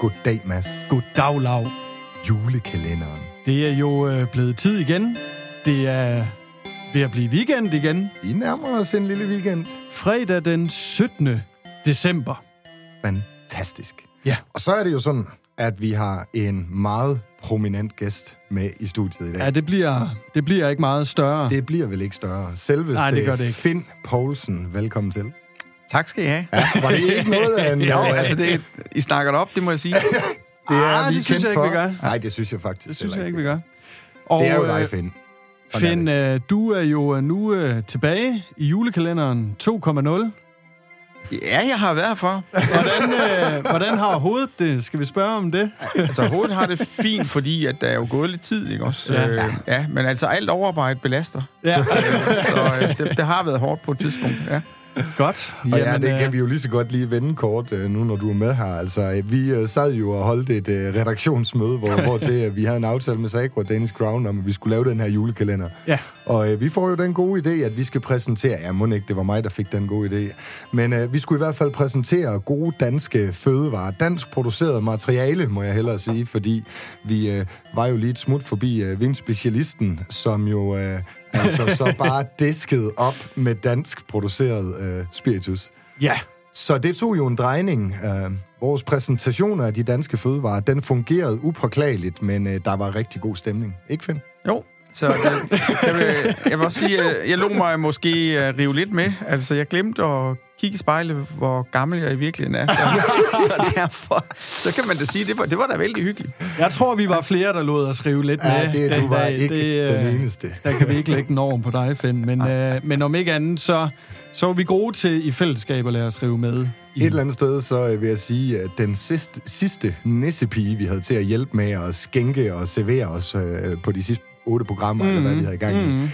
Goddag, Mads. Goddag, Lav. Julekalenderen. Det er jo øh, blevet tid igen. Det er ved at blive weekend igen. Vi nærmer os en lille weekend. Fredag den 17. december. Fantastisk. Ja. Og så er det jo sådan, at vi har en meget prominent gæst med i studiet i dag. Ja, det bliver, det bliver ikke meget større. Det bliver vel ikke større. Selveste Nej, det gør det ikke. Finn Poulsen, velkommen til. Tak skal I have. Ja, var det ikke noget af en... Jo, øh, altså, det, I snakker det op, det må jeg sige. det er Ah, vi det synes kendt jeg ikke, vi for. gør. Nej, det synes jeg faktisk det synes heller jeg ikke, vi gør. Og, Det er jo øh, dig, Finn. Sådan er Finn, øh, du er jo øh, nu øh, tilbage i julekalenderen 2,0. Hvordan, Ja, jeg har været her for. øh, hvordan har hovedet det? Skal vi spørge om det? Altså, hovedet har det fint, fordi at der er jo gået lidt tid, ikke også? Ja. Øh, ja men altså, alt overarbejde belaster. Ja, Så øh, det, det har været hårdt på et tidspunkt, ja. godt. Og ja, det øh, kan vi jo lige så godt lige vende kort øh, nu, når du er med her. Altså, øh, vi øh, sad jo og holdt et øh, redaktionsmøde, hvor, hvor til øh, vi havde en aftale med Sagro og Danish Crown om, at vi skulle lave den her julekalender. Ja. Og øh, vi får jo den gode idé, at vi skal præsentere... Ja, må ikke, det var mig, der fik den gode idé. Men øh, vi skulle i hvert fald præsentere gode danske fødevarer. Dansk produceret materiale, må jeg hellere sige, fordi vi øh, var jo lige et smut forbi øh, vinspecialisten, som jo... Øh, altså så bare disket op med dansk produceret øh, spiritus. Ja, Så det tog jo en drejning. Øh, vores præsentationer af de danske fødevarer, den fungerede upåklageligt, men øh, der var rigtig god stemning. Ikke, Finn? Jo, så det, jeg, vil, jeg vil også sige, at jeg lå mig måske øh, rive lidt med. Altså, jeg glemte at kigge i spejlet, hvor gammel jeg i virkeligheden er. Så, så derfor, så kan man da sige, at det var, det var da vældig hyggeligt. jeg tror, vi var flere, der lod os rive lidt med. Ja, det, du den var dag. ikke Det, øh, den eneste. Der kan vi ikke lægge den over på dig, Finn. Men, øh, men om ikke andet, så, så er vi gode til i fællesskab at lade os rive med. I, Et eller andet sted, så øh, vil jeg sige, at den sidste, sidste nissepige, vi havde til at hjælpe med at skænke og servere os øh, på de sidste otte programmer, mm-hmm. eller hvad vi havde i gang i, Mhm.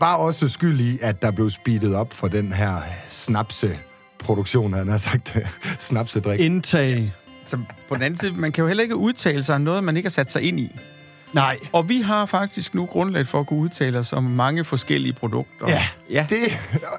var også skyld i, at der blev speedet op for den her snapse produktion, han har sagt, snapsedrik. Indtag. Så på den anden side, man kan jo heller ikke udtale sig om noget, man ikke har sat sig ind i. Nej. Og vi har faktisk nu grundlag for at kunne udtale os om mange forskellige produkter. Ja. ja. Det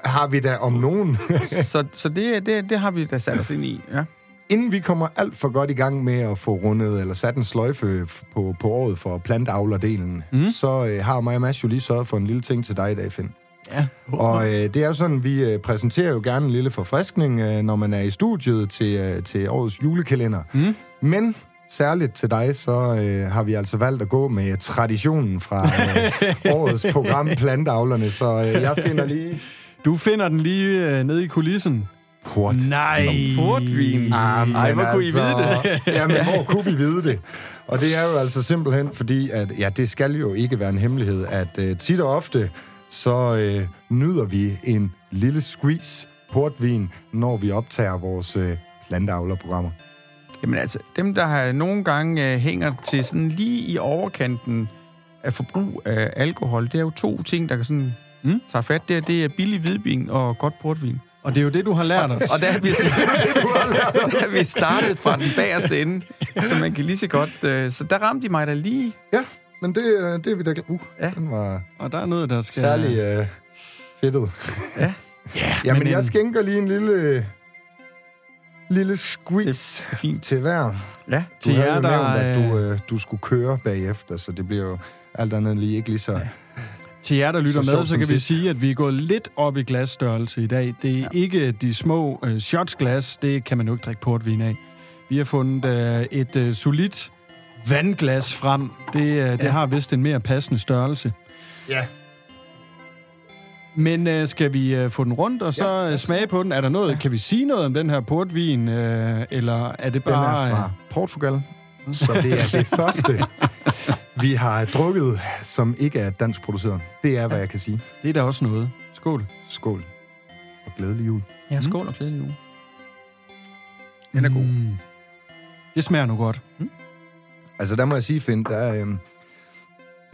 har vi da om nogen Så, så det, det, det har vi da sat os ind i. Ja. inden vi kommer alt for godt i gang med at få rundet eller sat en sløjfe f- på, på året for plantavlerdelen, mm. så øh, har mig og Mads jo lige sørget for en lille ting til dig i dag, Finn. Ja. Og øh, det er jo sådan, vi øh, præsenterer jo gerne en lille forfriskning, øh, når man er i studiet til, øh, til årets julekalender. Mm. Men særligt til dig, så øh, har vi altså valgt at gå med traditionen fra øh, årets program Plantavlerne, så øh, jeg finder lige... Du finder den lige øh, nede i kulissen. Port. Nej. portvin. Ah, men Ej, hvor kunne I vide det? altså, Jamen, hvor kunne vi vide det? Og det er jo altså simpelthen fordi, at ja, det skal jo ikke være en hemmelighed, at uh, tit og ofte, så uh, nyder vi en lille squeeze portvin, når vi optager vores uh, planteavlerprogrammer. Jamen altså, dem der har nogle gange øh, hænger til sådan lige i overkanten af forbrug af alkohol, det er jo to ting, der kan sådan mm? tage fat der. Det er billig hvidvin og godt portvin. Og det er jo det, du har lært os. Og der er vi, der er vi startet fra den bagerste ende, så man kan lige så godt... Øh, så der ramte de mig da lige Ja, men det, øh, det er vi da glade. Uh, ja. Ja. den var Og der er noget, der skal... særlig uh, fedtet. Ja. Jamen, men, men, jeg øhm, skænker lige en lille... Lille squeeze Det er fint. til hver. Ja, Du Til havde jer, jo der, nævnt, at du, øh, øh, du skulle køre bagefter, så det bliver jo alt andet lige ikke lige så... Ja. Til jer, der lytter Så så, sjovt med, så som kan vi sidst. sige, at vi er gået lidt op i glasstørrelse i dag. Det er ja. ikke de små øh, shotsglas, det kan man jo ikke drikke portvin af. Vi har fundet øh, et øh, solidt vandglas frem. Det, øh, det har vist en mere passende størrelse. ja. Men øh, skal vi øh, få den rundt og så øh, smage på den? Er der noget? Ja. Kan vi sige noget om den her portvin, øh, eller er det Den bare... er fra Portugal, så det er det første, vi har drukket, som ikke er dansk produceret. Det er, hvad jeg kan sige. øh, det er da også noget. Skål. Skål. Og glædelig jul. ja skål og glædelig uge. Hmm. Den er god. Mm. Det smager nu godt. Altså, der må jeg sige, Finn, der, øh,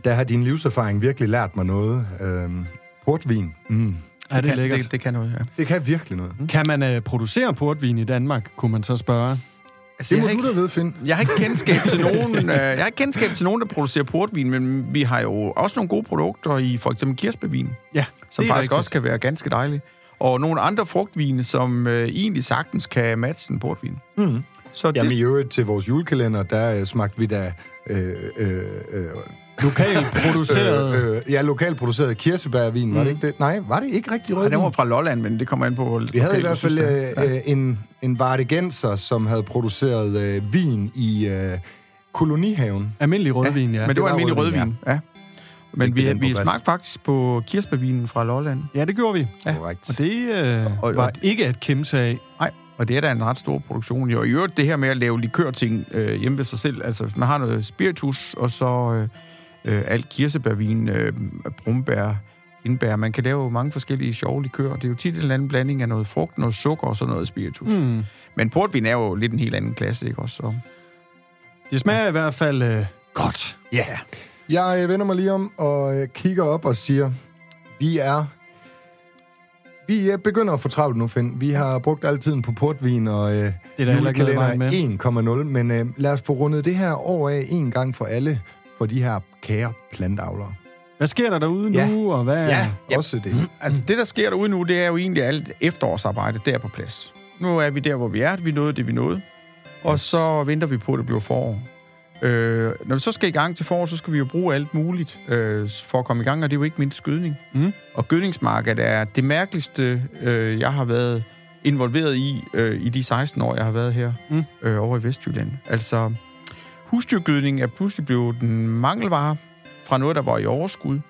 der har din livserfaring virkelig lært mig noget. Øh, portvin, mm. Ja, det er kan, lækkert. Det, Altså, det kan noget, ja. det kan virkelig noget. Kan man øh, producere portvin i Danmark, kunne man så spørge? Det Altså, jeg, må har du ikke, da ved, Finn. jeg har ikke kendskab til nogen, øh, jeg har ikke kendskab til nogen, der producerer portvin, men vi har jo også nogle gode produkter i for eksempel kirsebærvin, Ja, som det er faktisk rigtigt. også kan være ganske dejlige. Og nogle andre frugtvine, som øh, egentlig sagtens kan matche en portvin. Mm. Så det, Jamen i øvrigt til vores julekalender, der øh, smagte vi da... Øh, øh, øh, Lokalt produceret. øh, øh, ja, lokalt produceret kirsebærvin, mm. var det ikke det? Nej, var det ikke rigtig Ej, rødvin? den var fra Lolland, men det kommer an på... hvor Vi havde lokalt i hvert du synes, fald det er. øh, øh, en, en vardegenser, som havde produceret øh, vin i øh, kolonihaven. Almindelig rødvin, ja. Men det, var almindelig rødvin, rødvin, ja. ja. Fik Men vi vi, den på vi plads. smagte faktisk på kirsebærvinen fra Lolland. Ja, det gjorde vi. Ja. Korrekt. Og det øh, Og- og, og- var ikke at kæmpe af. Nej, og det er da en ret stor produktion. Jo, i øvrigt det her med at lave likørting øh, hjemme ved sig selv. Altså, man har noget spiritus, og så øh, øh, alt kirsebærvin, øh, brumbær, hindbær. Man kan lave mange forskellige sjove likører. Det er jo tit en eller anden blanding af noget frugt, noget sukker og så noget spiritus. Mm. Mm. Men portvin er jo lidt en helt anden klasse, ikke også? Så. Det smager i hvert fald øh, godt. Ja. Jeg øh, vender mig lige om og øh, kigger op og siger, vi er... Vi øh, begynder at få travlt nu, Finn. Vi har brugt al tiden på portvin og øh, Det er der heller ikke noget vejen med. julekalender 1,0, men øh, lad os få rundet det her over af en gang for alle for de her kære plantavlere. Hvad sker der derude ja. Ja. nu, og hvad... ja. også det. Altså, det, der sker derude nu, det er jo egentlig alt efterårsarbejde der på plads. Nu er vi der, hvor vi er. Vi nåede det, vi nåede. Og så venter vi på, at det bliver forår. Øh, når vi så skal i gang til forår, så skal vi jo bruge alt muligt øh, for at komme i gang, og det er jo ikke mindst skydning. Mm. Og gødningsmarkedet er det mærkeligste, øh, jeg har været involveret i øh, i de 16 år, jeg har været her Mm. øh, over i Vestjylland. Altså, husdyrgødning er pludselig blevet en mangelvare fra noget, der var i overskud.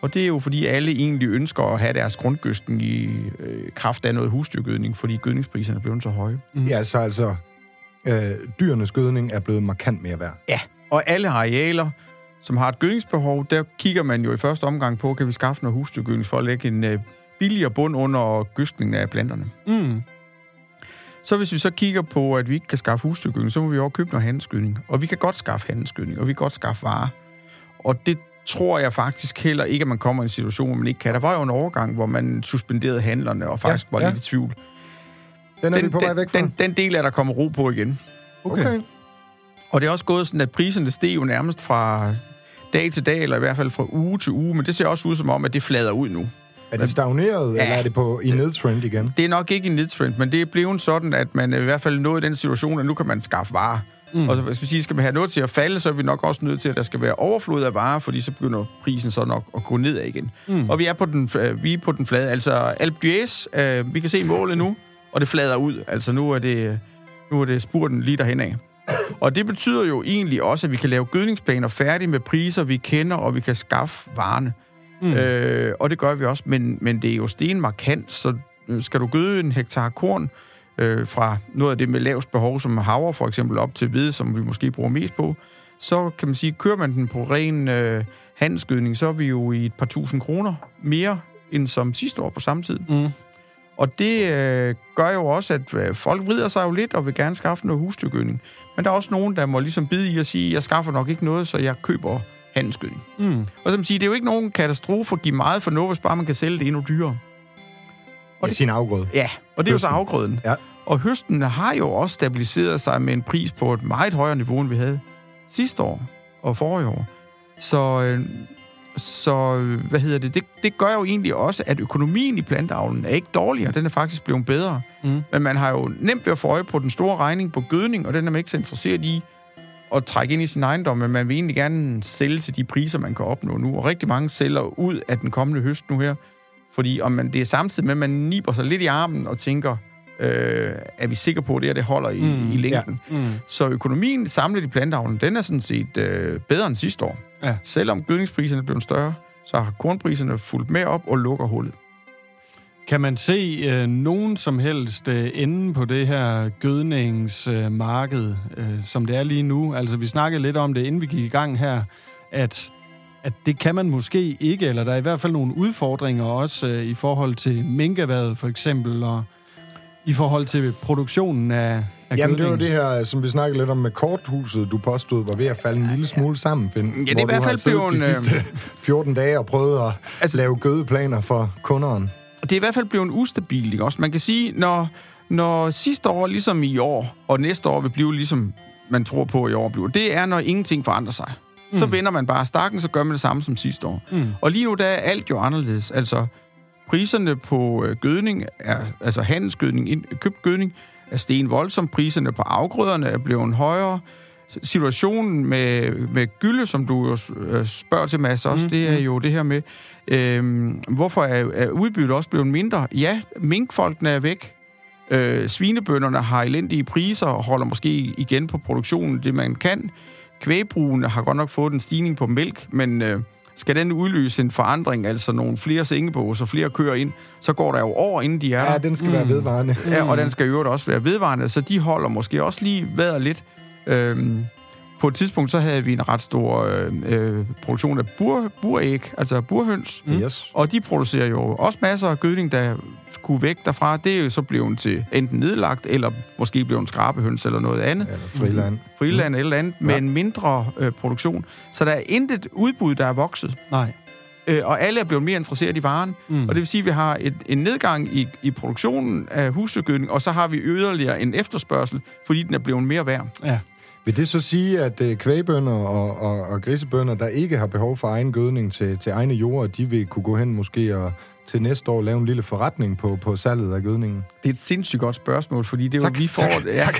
Og det er jo fordi, alle egentlig ønsker at have deres grundgødning i øh, kraft af noget husdyrgødning, fordi gødningspriserne er blevet så høje. Ja, så altså, øh, dyrenes gødning er blevet markant mere værd. Ja. Og alle arealer, som har et gødningsbehov, der kigger man jo i første omgang på, kan vi skaffe noget husdyrgødning for at lægge en øh, billigere bund under gødskningen af planterne. Mm. Så hvis vi så kigger på, at vi ikke kan skaffe husdyrgødning, så må vi over købe noget handelsgødning. Og vi kan godt skaffe handelsgødning, og vi kan godt skaffe varer. Og det tror jeg faktisk heller ikke, at man kommer i en situation, hvor man ikke kan. Der var jo en overgang, hvor man suspenderede handlerne og faktisk Ja, ja, var ja. ja. lidt i tvivl. Den er den, vi Den, på vej væk den, fra. den, den del er der kommet ro på igen. Okay. okay. Og det er også gået sådan, at priserne steg jo nærmest fra dag til dag, eller i hvert fald fra uge til uge, men det ser også ud som om, at det flader ud nu. Er det stagneret, ja. Ja. eller er det på i nedtrend igen? det er nok ikke en nedtrend, men det er blevet sådan, at man i hvert fald nåede den situation, at nu kan man skaffe varer. Mm. Og så, hvis vi siger, skal man have noget til at falde, så er vi nok også nødt til, at der skal være overflod af varer, fordi så begynder prisen så nok at gå nedad igen. Mm. Og vi er på den, øh, vi er på den flade. Altså, Alpe d'Huez, øh, vi kan se målet nu, og det flader ud. Altså, nu er det, nu er det spurten lige derhen af. Og det betyder jo egentlig også, at vi kan lave gødningsplaner færdige med priser, vi kender, og vi kan skaffe varerne. Mm. Øh, og det gør vi også, men, men det er jo stenmarkant, så øh, skal du gøde en hektar korn øh, fra noget af det med lavest behov, som havre for eksempel, op til hvide, som vi måske bruger mest på, så kan man sige, kører man den på ren øh, handelsgødning, så er vi jo i et par tusind kroner mere end som sidste år på samme tid. Mm. Og det øh, gør jo også, at øh, folk vrider sig jo lidt og vil gerne skaffe noget husdyrgødning. Men der er også nogen, der må ligesom bide i at sige, jeg skaffer nok ikke noget, så jeg køber handelsgødning. Mm. Og som siger, det er jo ikke nogen katastrofe at give meget for noget, hvis bare man kan sælge det endnu dyrere. Og ja, sin afgrøde. Ja, og det er jo så Høsten. afgrøden. Ja. Og høsten har jo også stabiliseret sig med en pris på et meget højere niveau, end vi havde sidste år og forrige år. Så, øh, så øh, hvad hedder det? det? Det gør jo egentlig også, at økonomien i planteavlen er ikke dårligere. Den er faktisk blevet bedre. Mm. Men man har jo nemt ved at få øje på den store regning på gødning, og den er man ikke så interesseret i at trække ind i sin ejendom, men man vil egentlig gerne sælge til de priser, man kan opnå nu. Og rigtig mange sælger ud af den kommende høst nu her, fordi om man, det er samtidig med, at man niber sig lidt i armen og tænker, øh, er vi sikre på, at det her det holder i, Mm, mm, i længden? Ja. Mm. Så økonomien samlet i plantavlen, den er sådan set øh, bedre end sidste år. Ja. Selvom gødningspriserne er blevet større, så har kornpriserne fulgt med op og lukker hullet. Kan man se øh, nogen som helst øh, ende på det her gødningsmarked, øh, marked, øh, som det er lige nu? Altså, vi snakkede lidt om det, inden vi gik i gang her, at, at det kan man måske ikke, eller der er i hvert fald nogle udfordringer også øh, i forhold til minkerværet for eksempel, og i forhold til produktionen af, af Jamen, det var gødning. det her, som vi snakkede lidt om med korthuset, du påstod var ved at falde en lille smule sammen, Finn. det er hvor i hvert du har fald siddet blevet, øh, de sidste 14 dage og prøvet at altså, Altså- lave gødeplaner for kunderen. Og det er i hvert fald blevet ustabilt, ikke også? Man kan sige, når, når sidste år ligesom i år, og næste år vil blive ligesom man tror på i år bliver, det er, når ingenting forandrer sig. Mm. Så vender man bare stakken, så gør man det samme som sidste år. Mm. Og lige nu, der er alt jo anderledes. Altså, priserne på øh, gødning, er, altså handelsgødning, ind, købt gødning, er sten voldsom, priserne på afgrøderne er blevet højere. Situationen med, med gylde, som du jo øh, spørger til, Mads, også, mm, det er jo det her med, øh, hvorfor er, er udbyttet også blevet mindre? Ja, minkfolkene er væk. Øh, svinebønderne har elendige priser og holder måske igen på produktionen det, man kan. Kvægbrugene har godt nok fået en stigning på mælk, men øh, skal den udløse en forandring, altså nogle flere sengebås og flere køer ind, så går der jo år, inden de er Ja, der. den skal mm. være vedvarende. Ja, og den skal i øvrigt også være vedvarende, så de holder måske også lige vejret lidt. Øhm, på et tidspunkt, så havde vi en ret stor øh, øh, produktion af bur, buræg, altså burhøns. Mm. Yes. Og de producerer jo også masser af gødning, der skulle væk derfra. Det er jo så blevet til enten nedlagt, eller måske blevet en skrabehøns eller noget andet. Eller friland. Friland eller andet, med en mindre øh, produktion. Så der er intet udbud, der er vokset Nej. øh, og alle er blevet mere interesseret i varen. Mm. Og det vil sige, at vi har et, en nedgang i, i produktionen af husdyrgødning, og så har vi yderligere en efterspørgsel, fordi den er blevet mere værd. Ja. Vil det så sige, at øh, kvægbønder og, og, og grisebønder, der ikke har behov for egen gødning til, til egne jorder, de vil kunne gå hen måske og til næste år lave en lille forretning på, på salget af gødningen? Det er et sindssygt godt spørgsmål, fordi det er jo, vi får... Tak, ja, tak.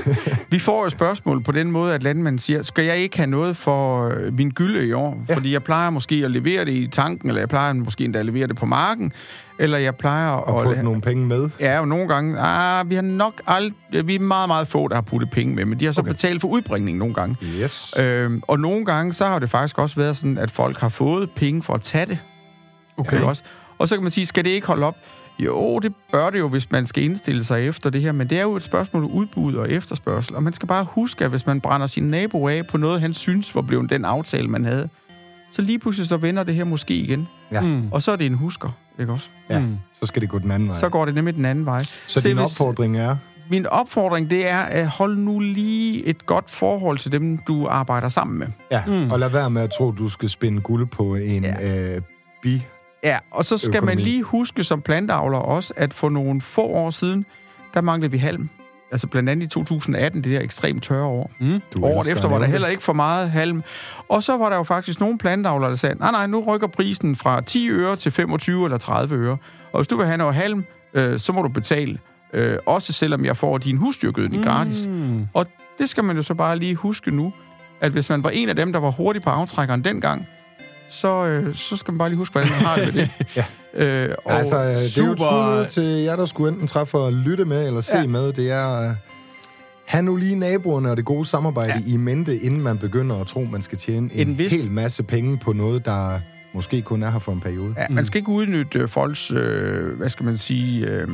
vi får jo spørgsmål på den måde, at landmanden siger, skal jeg ikke have noget for øh, min gylde i år? Ja. Fordi jeg plejer måske at levere det i tanken, eller jeg plejer måske endda at levere det på marken, eller jeg plejer Og, og putte nogle penge med? Ja, og nogle gange, ah, vi har nok ald- vi er meget, meget få, der har puttet penge med, men de har så okay. betalt for udbringning nogle gange. Yes. Øhm, og nogle gange, så har det faktisk også været sådan, at folk har fået penge for at tage det. Okay. Ikke Også. Og så kan man sige, skal det ikke holde op? Jo, det bør det jo, hvis man skal indstille sig efter det her, men det er jo et spørgsmål om udbud og efterspørgsel, og man skal bare huske, at hvis man brænder sin nabo af på noget, han synes var blevet den aftale, man havde, så lige pludselig så vender det her måske igen, Ja. Mm. og så er det en husker, ikke også? ja. Mm. Så skal det gå den anden vej. Så går det nemlig den anden vej. så Se, din hvis- opfordring er? min opfordring, det er at holde nu lige et godt forhold til dem, du arbejder sammen med. Ja, mm. og lad være med at tro, du skal spinde guld på en ja. øh, bi. Ja, og så skal Økonomi. man lige huske som planteavler også, at for nogle få år siden, der manglede vi halm. Altså blandt andet i 2018, det der ekstremt tørre år. Mm. Du Året elsker efter at var der nævne heller ikke for meget halm. Og så var der jo faktisk nogle planteavlere, der sagde, nej nej, nu rykker prisen fra 10 øre til 25 eller 30 øre. Og hvis du vil have noget halm, øh, så må du betale. Øh, også selvom jeg får din husdyrgødning mm. gratis. Mm. Og det skal man jo så bare lige huske nu, at hvis man var en af dem, der var hurtig på aftrækkeren dengang, så, øh, så skal man bare lige huske, hvordan man har det med det. ja. øh, og, Og altså, øh, det er jo et super- skud ud til jer, der skulle enten træffe for at lytte med eller se ja. med. Det er, øh, have nu lige naboerne og det gode samarbejde ja. i mente, inden man begynder at tro, man skal tjene en, en En vis- hel masse penge på noget, der måske kun er her for en periode. Ja. ja, man skal ikke udnytte øh, folks, øh, hvad skal man sige, øh,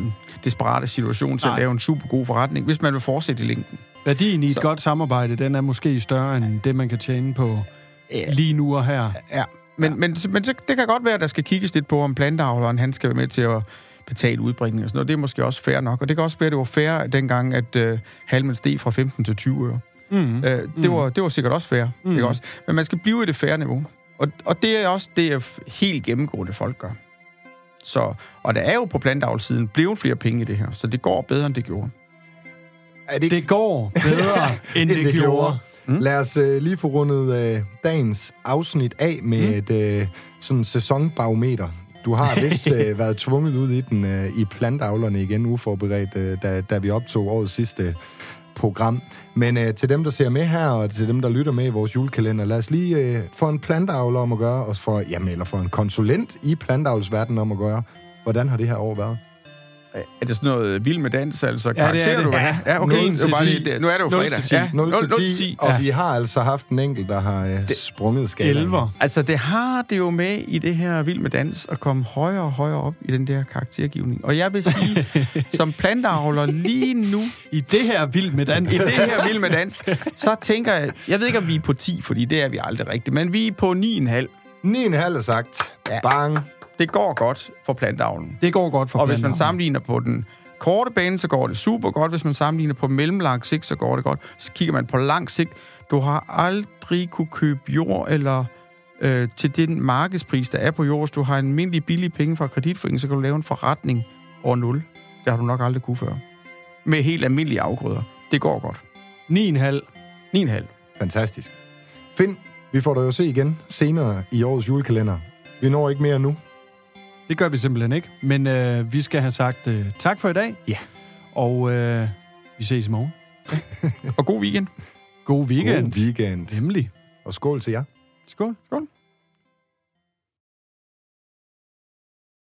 desperate situation til Nej. Nej. at lave en super god forretning, hvis man vil fortsætte i længden. Værdien i et Så- så. godt samarbejde, den er måske større end det, man kan tjene på Ja. lige nu og her. Ja, men, ja. men, men så, det kan godt være, at der skal kigges lidt på, om planteavleren han skal være med til at betale udbringning og sådan noget. Det er måske også fair nok. Og det kan også være, at det var fair dengang, at øh, halmen steg fra 15 til 20 øre. Mm. Øh, det, mm. var, det var sikkert også fair. Mm. Ikke også? Men man skal blive i det færre niveau. Og, og det er også det, jeg f- helt gennemgående folk gør. Så, og der er jo på planteavlsiden blevet flere penge i det her, så det går bedre, end det gjorde. Er det ikke Det går bedre, end det, det gjorde. Mm. Lad os øh, lige få rundet øh, dagens afsnit af med mm. et øh, sådan sæsonbarometer. Du har vist øh, været tvunget ud i den øh, i plantavlerne igen uforberedt, øh, da, da vi optog årets sidste program. Men øh, til dem, der ser med her, og til dem, der lytter med i vores julekalender, lad os lige øh, få en plantavler om at gøre, og for, jamen, eller for en konsulent i plantavlsverdenen om at gøre. Hvordan har det her år været? Er det sådan noget vild med dans, altså det er karakterer, det. du vil Ja. have? Ja, okay. Nul Det til var bare lige, ti. det, nu er det jo Nul fredag. til ti. Ja, 0 til 10, 10. og Ja. vi har altså haft en enkelt, der har øh, sprunget skalaen. Elver. Altså, det har det jo med i det her vild med dans at komme højere og højere op i den der karaktergivning. Og jeg vil sige, som planteavler lige nu, I det her vild med dans. altså, i det her vild med dans, så tænker jeg, jeg ved ikke, om vi er på 10, fordi det er vi aldrig rigtigt, men vi er på 9,5. 9,5 er sagt. Ja. Bang. Det går godt for plantavlen. Det går godt for Og hvis man planter. sammenligner på den korte bane, så går det super godt. Hvis man sammenligner på mellemlang sigt, så går det godt. Så kigger man på lang sigt. Du har aldrig kunne købe jord eller øh, til den markedspris, der er på jord. Hvis du har en almindelig billig penge fra kreditforeningen, så kan du lave en forretning over 0. Det har du nok aldrig kunne før. Med helt almindelige afgrøder. Det går godt. 9,5. 9,5. Fantastisk. Finn, vi får dig jo at se igen senere i årets julekalender. Vi når ikke mere nu. Det gør vi simpelthen ikke. Men øh, vi skal have sagt øh, tak for i dag. Ja. Og øh, Vi ses i morgen. Og god weekend. God weekend. God weekend. Nemlig. Og skål til jer. Skål. Skål.